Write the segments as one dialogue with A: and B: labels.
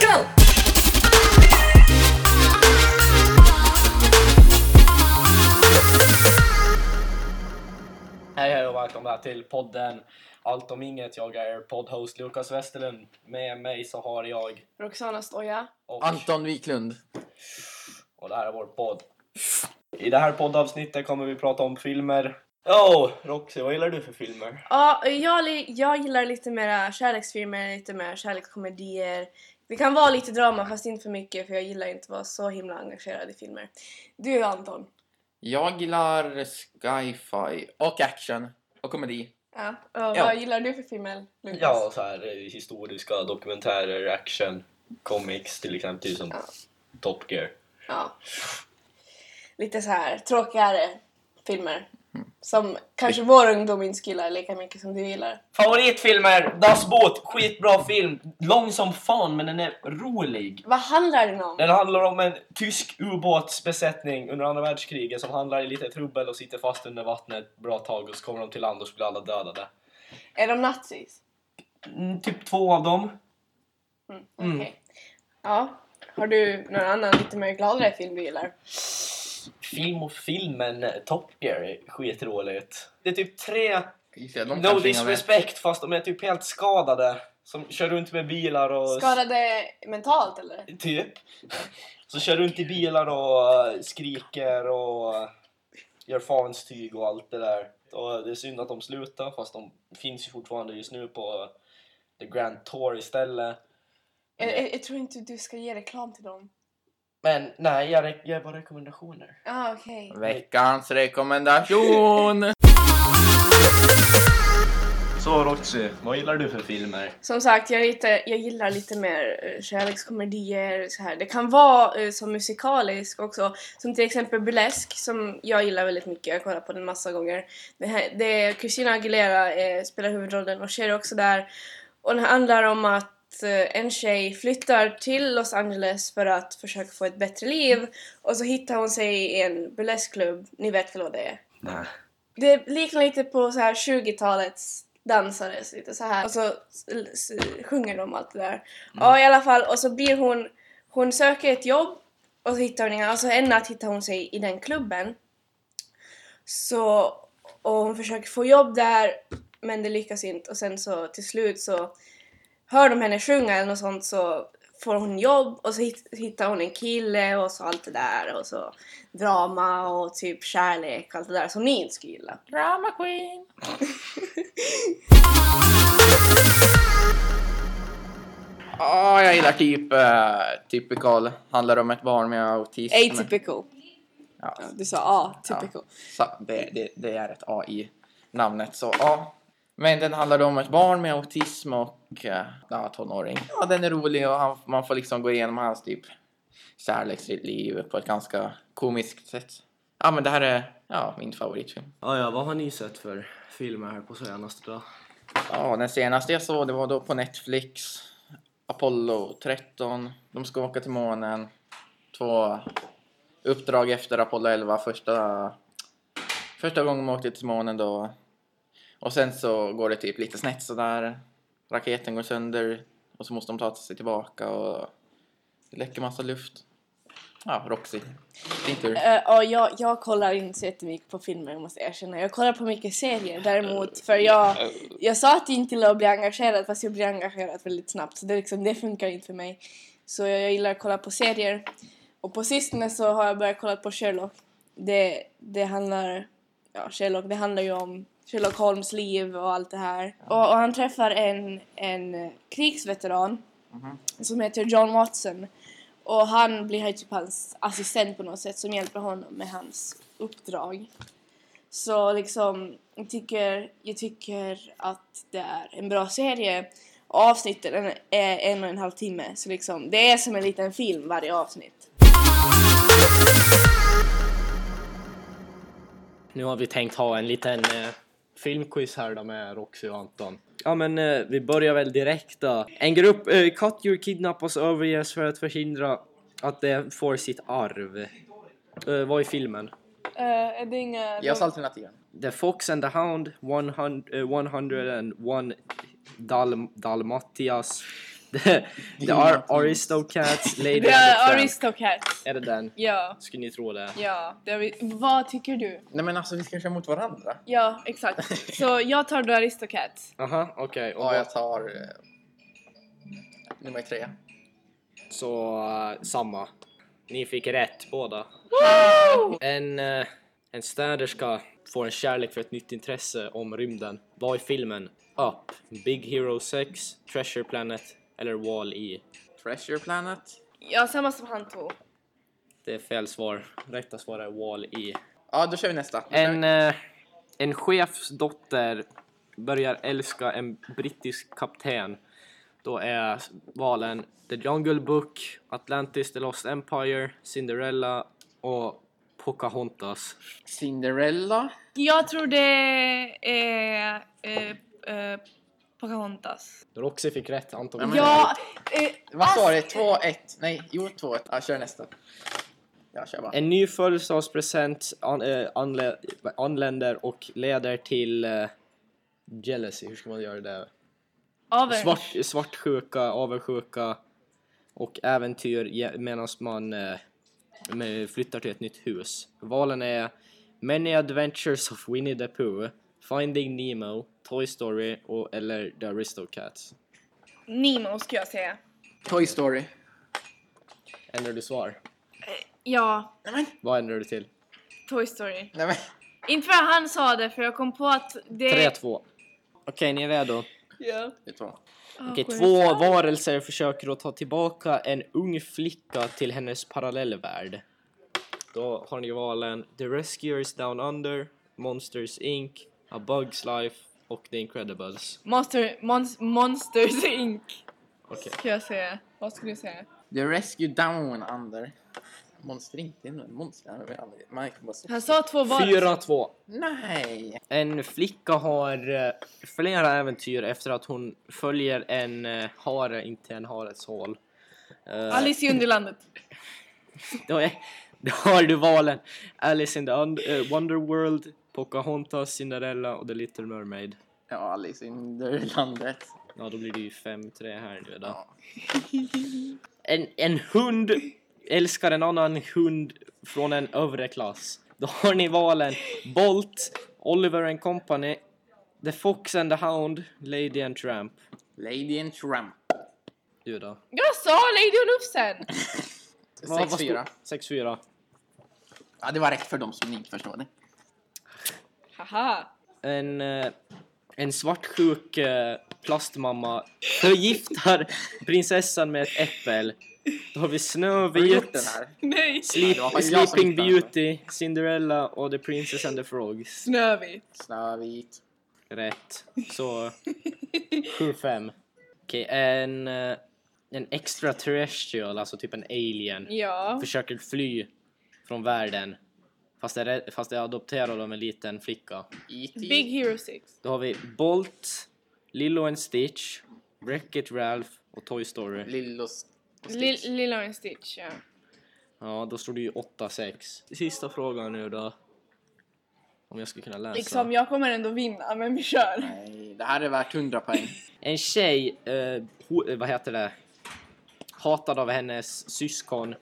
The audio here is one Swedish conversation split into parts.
A: go!
B: Hej hej och välkomna till podden Allt om inget. Jag är er poddhost Lukas Westerlund. Med mig så har jag
C: Roxana Stoja.
B: och,
D: Anton Wiklund.
B: och det här är vår podd. I det här poddavsnittet kommer vi prata om filmer. Oh, Roxy, vad gillar du för filmer?
C: Ja, jag, li- jag gillar lite mera kärleksfilmer, lite mer kärlekskomedier. Det kan vara lite drama fast inte för mycket för jag gillar inte att vara så himla engagerad i filmer. Du Anton?
D: Jag gillar sci-fi och action och komedi.
C: Ja. och Vad
D: Ja.
C: gillar du för filmer Lukas?
B: Ja, så här eh, historiska dokumentärer, action, comics till exempel, typ som
C: Ja.
B: Top Gear.
C: Ja. Lite så här tråkigare filmer. Som kanske vår ungdom inte gillar lika mycket som du gillar.
B: Favoritfilmer! Das Boot! Skitbra film! Lång som fan, men den är rolig.
C: Vad handlar den om?
B: Den handlar om en tysk ubåtsbesättning under andra världskriget som handlar i lite trubbel och sitter fast under vattnet ett bra tag och så kommer de till land och så blir alla dödade.
C: Är de nazis?
B: Mm, typ två av dem.
C: Mm, Okej.
B: Mm.
C: Ja. Har du någon annan lite mer gladare film du gillar?
B: Film och filmen eh, Top Gear är skitroligt. Det är typ tre
D: Just det, de
B: No
D: kanske inga vet.
B: Disrespect fast de är typ helt skadade. Som kör runt med bilar och...
C: Skadade mentalt eller?
B: Typ. Så kör runt i bilar och eh, skriker och gör fanstyg och allt det där. Och det är synd att de slutar fast de finns ju fortfarande just nu på The Grand Tour istället.
C: Jag, jag, jag tror inte du ska ge reklam till dem.
B: Men nej, jag re- ger bara rekommendationer.
C: Ah, okej.
D: Veckans rekommendation!
B: Så Roxy, vad gillar du för filmer?
C: Som sagt, jag, lite, jag gillar lite mer eh, kärlekskomedier så här. Det kan vara eh, som musikalisk också. Som till exempel Burlesque som jag gillar väldigt mycket. Jag har kollat på den massa gånger. Det här, det är Christina Aguilera eh, spelar huvudrollen och Cher är också där. Och den handlar om att eh, en tjej flyttar till Los Angeles för att försöka få ett bättre liv och så hittar hon sig i en burleskklubb. Ni vet väl vad det är?
B: Nej.
C: Det liknar lite på så här 20-talets dansare, så lite så här. Och så s- s- sjunger de allt det där. Ja, i alla fall. Och så blir hon... Hon söker ett jobb och så hittar hon inga... Alltså en natt hittar hon sig i den klubben. Så... Och hon försöker få jobb där, men det lyckas inte. Och sen så till slut så hör de henne sjunga eller något sånt så får hon jobb och så hitt- hittar hon en kille och så allt det där och så drama och typ kärlek och allt det där som ni inte skulle gilla.
D: Drama queen! Ja, jag gillar typ uh, typical. Handlar om ett barn med autism.
E: Atypical.
D: Ja,
E: Du sa A,
D: ja.
E: typical.
D: Sa- Det, det, det är ett A i namnet, så ja. Men den handlar om ett barn med autism och eh, ja, tonåring. Ja, den är rolig och han, man får liksom gå igenom hans typ kärleksliv på ett ganska komiskt sätt. Ja, men det här är ja, min favoritfilm.
B: Ah, ja, vad har ni sett för filmer här på senaste då?
D: Ja, den senaste jag såg det var då på Netflix. Apollo 13. De ska åka till månen. Två uppdrag efter Apollo 11. Första, första gången de åkte till månen då. Och sen så går det typ lite snett sådär. Raketen går sönder och så måste de ta sig tillbaka och det läcker massa luft. Ja, Roxy. Din tur.
E: Uh, och jag, jag kollar inte så jättemycket på filmer måste jag erkänna. Jag kollar på mycket serier däremot. För jag, jag sa att jag inte gillar att bli engagerad fast jag blir engagerad väldigt snabbt. Så det, är liksom, det funkar inte för mig. Så jag, jag gillar att kolla på serier. Och på sistone så har jag börjat kolla på Sherlock. Det, det handlar... Ja, Sherlock, det handlar ju om Sherlock Holmes liv och allt det här. Och, och han träffar en, en krigsveteran som heter John Watson. Och han blir ju typ hans assistent på något sätt som hjälper honom med hans uppdrag. Så liksom, jag tycker, jag tycker att det är en bra serie. Och avsnitten är en och en halv timme. Så liksom, det är som en liten film varje avsnitt.
F: Nu har vi tänkt ha en liten eh, filmquiz här då med Roxy och Anton. Ja men eh, vi börjar väl direkt då. En grupp eh, kattdjur kidnappas och överges för att förhindra att de får sitt arv. Eh, vad är filmen?
C: Eh, är det inga...
D: Ge oss alternativen.
F: The Fox and the Hound, 100, eh, 101 Dalm Dalmatias,
B: The Ar- Aristocats, Lady
C: Det
B: and the
C: är
B: Tramp.
C: Aristocats.
B: Är det den?
C: Ja,
B: Skulle ni tro det?
C: ja. Det är, vad tycker du?
D: Nej men alltså vi ska köra mot varandra.
C: Ja, exakt. Så jag tar då Aristocats.
B: Aha, okej. och
D: Ja,
B: vad-
D: jag tar eh, nummer tre.
B: Så eh, samma. Ni fick rätt båda. En, eh, en städerska får en kärlek för ett nytt intresse om rymden. Vad är filmen? Up, Big Hero 6, Treasure Planet eller Wall-E?
D: Treasure Planet.
C: Ja, samma som han tog.
B: Det är fel svar. Rätta svar är Wall-E.
D: Ja, då kör vi nästa. Då kör
B: En,
D: vi.
B: eh, en chefs dotter börjar älska en brittisk kapten. Då är valen The Jungle Book, Atlantis The Lost Empire, Cinderella och Pocahontas.
D: eh, Cinderella.
C: Jag tror det är eh, eh, Pocahontas.
B: Roxy fick rätt Anton.
D: Ja, men-
C: Ja, eh,
D: Vad står det? 2-1? Nej, jo 2-1. Ja, kör nästa. Ja, kör bara.
B: En ny födelsedagspresent an, eh, anlä- anländer och leder till eh, jealousy. Hur ska man göra det?
C: Aver.
B: Svart, svartsjuka, avundsjuka och äventyr medan man eh, med- flyttar till ett nytt hus. Valen är Many Adventures of Winnie the Pooh, Finding Nemo, Toy Story och eller The Aristocats.
C: Nemo skulle jag säga.
D: Toy Story.
B: Ändrar du svar?
C: Eh, Ja,
B: Vad ändrar du till?
C: Toy Story.
D: Nej, men.
C: Inte för att han sa det, för jag kom på att det...
B: 3-2. Okej, ni är redo?
C: Ja.
D: Det är två.
C: Ah,
B: Okej, två varelser försöker att ta tillbaka en ung flicka till hennes parallellvärld. Då har ni valen The Rescuers Down Under, Monsters Inc, A Bug's Life och The Incredibles.
C: Monster, Mons- Monsters Inc.
B: Okej.
C: Ska jag säga. Vad skulle du säga?
D: The Rescue Down Under. Monster inte in, monster. Jag vet aldrig. Man kan bara se.
C: Han sa två val.
B: 4-2.
D: Nej!
B: En flicka har eh, flera äventyr efter att hon följer en eh, hare in till en hares hål. Eh,
C: Alice i Underlandet.
B: Då, är, då har du valen Alice in the Und- eh, Wonderworld, Pocahontas, Cinderella och The Little Mermaid.
D: Ja, Alice in Underlandet.
B: Ja, då blir det ju 5-3 här nu då.
D: Ja.
B: En, en hund älskar en annan hund från en övre klass. Då har ni valen Bolt, Oliver and Company, The Fox and the Hound, Lady and Tramp.
D: Lady and Tramp.
B: Du då?
C: Jag sa Lady och Lufsen!
B: Vad- vad
D: 6-4.
B: stod- 6-4.
D: Ja, det var rätt för dem som inte förstår det.
C: Haha.
B: en, eh, en svartsjuk eh, plastmamma förgiftar prinsessan med ett äppel. Då har vi
D: Har du gjort
B: Snövit,
D: den här?
C: Nej.
B: Sleep,
D: Ja, det var faktiskt jag som
B: Sleeping
D: hittade den.
B: Beauty, Cinderella och The Princess and the Frogs.
C: Snövit.
D: Snövit.
B: Rätt. Så 7-5. Okej, en, eh, en extraterrestrial, alltså typ en alien,
C: Ja.
B: försöker fly från världen. Fast det är, rädd- fast det är adopterad av en liten flicka.
D: E.T.
C: Big Hero 6.
B: Då har vi Bolt, Lilo and Stitch, Wreck-It Ralph och Toy Story.
D: Lillos...
C: Li- Lilo and Stitch,
D: Alltså.
C: ja.
B: Ja, då står det ju 8-6. Sista frågan nu då. Om jag skulle kunna läsa.
C: Liksom, jag kommer ändå vinna, men vi kör.
D: Nej, det här är värt 100 poäng.
B: En tjej, eh, ho- eh, vad heter det, hatad av hennes syskon,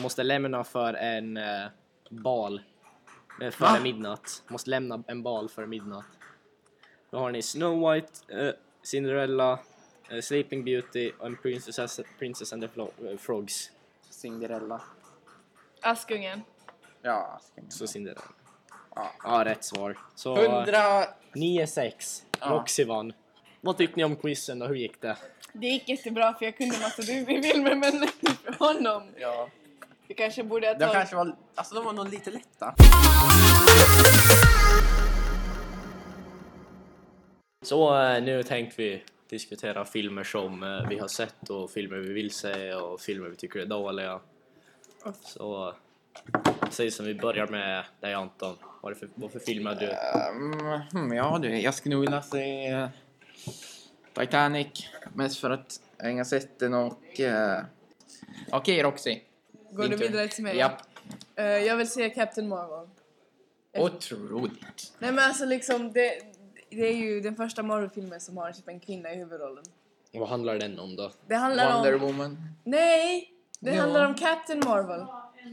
B: måste lämna för en eh, bal eh, före
D: Va?
B: midnatt. Måste lämna en bal före midnatt. Då har ni Snow White, eh, Cinderella, eh, Sleeping Beauty och en Princess, Princess and the Flo- eh, Frogs.
D: Cinderella.
C: Askungen.
D: Ja,
B: Så Cinderella.
D: Ja.
B: Ja, rätt svar. Så
D: 100...
B: 9-6.
D: Ja.
B: Roxy vann. Vad tyckte ni om quizen då? Hur gick det?
C: Det gick jättebra för jag kunde massa Disney-filmer men för honom.
D: Ja.
C: Vi kanske borde ha
D: De
C: tagit...
D: kanske var... Alltså de var nog lite lätta.
B: Så eh, nu tänkte vi diskutera filmer som eh, vi har sett och filmer vi vill se och filmer vi tycker är dåliga. Så eh, säg som vi börjar med dig Anton. Vad är det för, vad för film har du?
D: Ehm, hmm, ja du, jag skulle nog vilja se eh, Titanic. Mest för att jag inte har sett den och... eh, Okej Roxy.
C: Går
D: Din
C: du
D: tur.
C: vidare till mig?
D: Japp.
C: Eh, jag vill se Captain Marvel.
D: Otroligt.
C: Nej men alltså liksom det, det är ju den första Marvel-filmen som har typ en kvinna i huvudrollen.
B: Vad handlar den om då?
C: Det handlar
D: Wonder
C: om...
D: Woman.
C: Nej! Det
D: Ja.
C: handlar om Captain Marvel.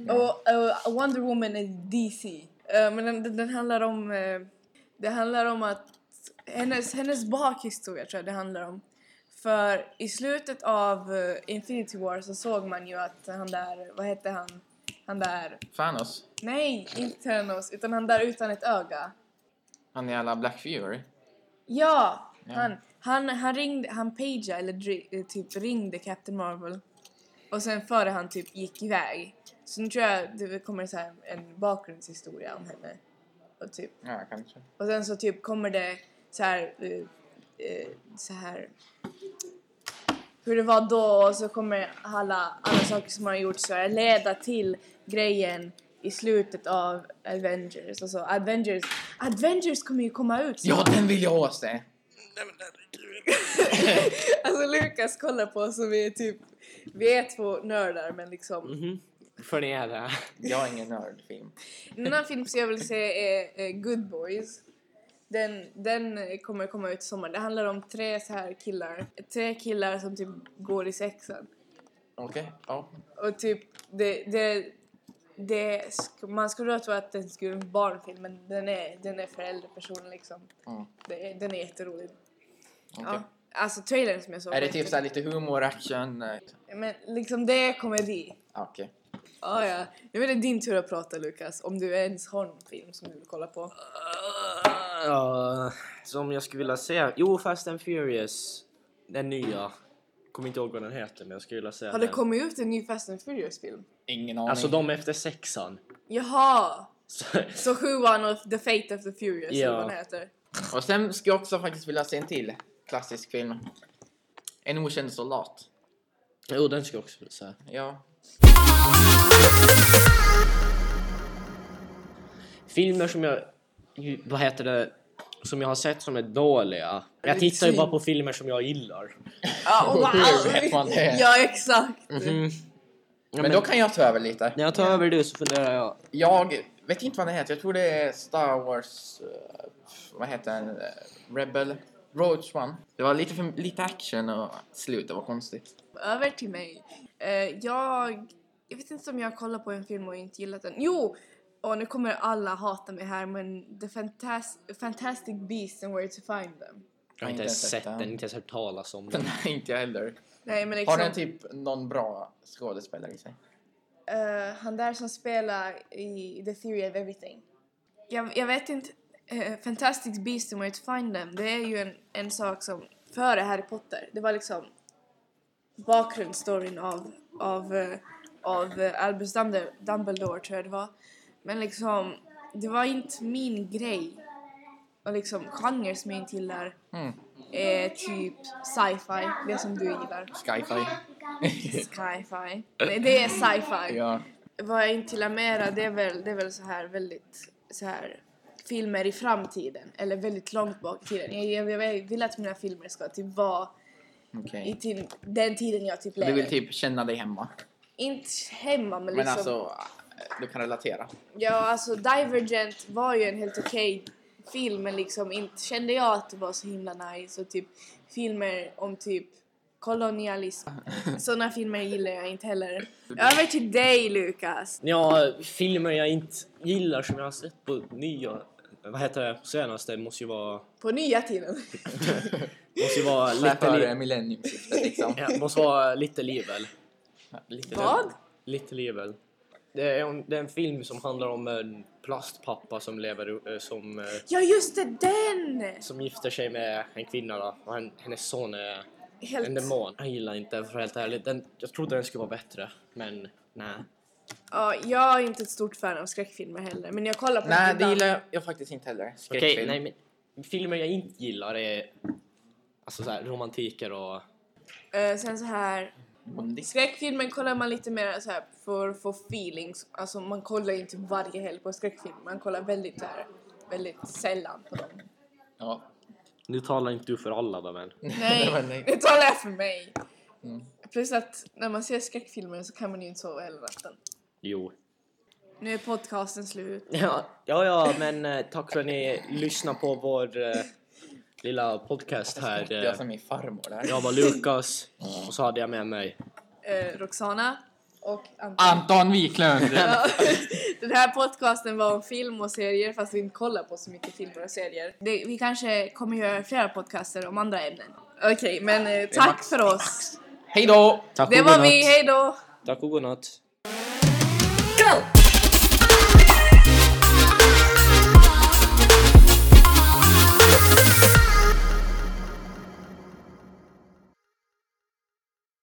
C: Och, och Wonder Woman är DC. Eh, men den, den, den handlar om... eh, det handlar om att... Hennes, hennes bakhistoria tror jag det handlar om. För i slutet av eh, Infinity War så såg man ju att han där... Vad hette han? Han där...
D: Thanos.
C: Nej, inte Thanos, utan han där utan ett öga.
D: Han jävla Black Fury.
C: Ja!
D: Ja.
C: Han, han, han ringde, han pagade eller dri- eh, typ ringde Captain Marvel. Och sen före han typ gick iväg. Så nu tror jag det kommer så här en bakgrundshistoria om henne. Och, typ.
D: Ja, kanske.
C: och sen så typ kommer det så här, eh, eh, så här hur det var då och så kommer alla, alla saker som har gjorts så här leda till grejen i slutet av Avengers och så. Avengers, Avengers kommer ju komma ut snart.
D: Ja, den vill jag se!
C: Alltså Lukas kollar på oss och vi är typ, vi är två nördar men liksom.
B: Mhm. För ni är det.
D: Jag är ingen nördfilm.
C: En annan film som jag vill se är, eh, Good Boys. Den, den eh, kommer komma ut i sommar. Det handlar om tre så här killar. Tre killar som typ går i sexan.
D: Okej, ja.
C: Och typ det, det, det sk- man skulle då tro att den skulle vara en barnfilm men den är, den är för äldre personer liksom.
D: Mm,
C: Det, är- den är jätterolig.
D: okej.
C: Ja. Alltså trailern som jag såg.
D: Är det
C: var
D: typ
C: jätte-
D: såhär lite humor, action? eh,
C: Men liksom det är komedi.
D: ja, Okej.
C: Ah, ja. Nu är det din tur att prata Lukas, om du ens har någon film som du vill kolla på.
B: Ja, som jag skulle vilja se? Jo, Fast and Furious. Den nya. Kommer inte ihåg vad den heter men jag skulle vilja se
C: Har det
B: den.
C: kommit ut en ny Fast and Furious-film?
D: Ingen aning.
B: Alltså de efter sexan.
C: Jaha!
B: Så,
C: Så sjuan och The Fate of the Furious, eller
B: Ja.
C: vad den heter.
D: Och sen skulle jag också faktiskt vilja se en till klassisk film. En okänd soldat.
B: jo, den ska jag också vilja se.
D: Ja.
B: Filmer som jag... Vad heter det? Som jag har sett som är dåliga. Jag tittar ju bara på filmer som jag gillar.
C: Ja, och
D: Hur vet man det? Mhm.
C: ja, exakt!
B: Ja,
D: Men då kan jag ta över lite.
B: När jag tar över du så funderar jag.
D: Jag vet inte vad den heter. Jag tror det är Star Wars... eh, vad heter den? Eh, Rebel? Rogue One. Det var lite, för, lite action och slutet var konstigt.
C: Över till mig. Eh, jag... Jag vet inte om jag kollar på en film och inte gillat den. Jo! Och nu kommer alla hata mig här men The Fantas- Fantastic Beasts and Where to Find Them.
B: Jag har inte ens sett den, inte ens hört talas om
D: Den
B: den.
D: här inte jag heller.
C: Nej men liksom...
D: Har den typ någon bra skådespelare i sig?
C: Eh, han där som spelar i The Theory of Everything. Jag, jag vet inte. eh, Fantastic Beasts and Where to Find Them, det är ju en, en sak som före Harry Potter, det var liksom bakgrundsstoryn av, av, eh, av eh, Albus Dumbledore, Dumbledore tror jag det var. Men liksom, det var inte min grej. Och liksom genrer som jag inte gillar
D: Mm.
C: är typ sci-fi, det som du gillar.
D: Skyfi.
C: Sci-fi. Nej, det är sci-fi
D: Eh. ja.
C: vad jag inte gillar mera det är väl, det är väl så här väldigt så här filmer i framtiden eller väldigt långt bak i tiden. Jag, jag, jag vill att mina filmer ska typ vara
D: Okej.
C: i till, den tiden jag typ
D: Du
C: lever.
D: vill typ känna dig hemma.
C: Inte hemma men liksom.
D: Men alltså, du kan relatera.
C: Ja alltså Divergent var ju en helt okej film men liksom inte kände jag att det var så himla nice och typ filmer om typ kolonialism. Sådana filmer gillar jag inte heller. Över till dig Lukas!
B: Ja, filmer jag inte gillar som jag har sett på nya... Vad heter det? Senaste måste ju vara...
C: På nya tiden.
B: Måste ju vara
D: Lite
B: lite
D: före
B: liv.
D: millenniumskiftet liksom.
B: Ja, måste vara lite livel.
D: Lite
C: Vad?
B: Little Evil. Det är, en, det är en film som handlar om en plastpappa som lever eh, som, eh,
C: Ja just det, den!
B: som gifter sig med en kvinna då. och han, hennes son är
C: Helt...
B: en demon. Jag gillar inte den, för helt ärligt. Den, jag trodde den skulle vara bättre men nej.
C: Ja, jag är inte ett stort fan av skräckfilmer heller, men jag kollar på
D: Nej,
C: dem
D: det
C: ibland.
D: gillar jag faktiskt inte heller.
B: Okej,
D: Skräckfilm.
B: nej men filmer jag inte gillar är alltså så här, romantiker och
C: Eh, sen så här...
D: Bondisk.
C: Skräckfilmen kollar man lite mer så här för att få feelings. Alltså man kollar inte varje helg på skräckfilm. Man kollar väldigt så här, väldigt sällan på dem.
D: Ja.
B: nu talar inte du för alla då men.
C: Nej,
D: men nej.
C: nu talar jag för mig!
D: Mm.
C: Plus att när man ser skräckfilmer så kan man ju inte sova hela natten.
B: Jo.
C: Nu är podcasten slut.
B: Ja, ja, ja men eh, tack för att ni lyssnar på vår eh, lilla podcast här. Eh,
D: Det är som min farmor där.
B: Jag var Lukas och så hade jag med mig
C: Eh, Roxana och Anton.
D: Anton Wiklund!
C: Den här podcasten var om film och serier fast vi inte kollar på så mycket filmer och serier. Det, vi kanske kommer göra flera podcaster om andra ämnen. Okej, men eh, tack för oss.
D: Hej då!
B: Tack
C: Det
B: och
C: var
B: godnatt.
C: vi, hejdå!
B: Tack och godnatt.
C: Go!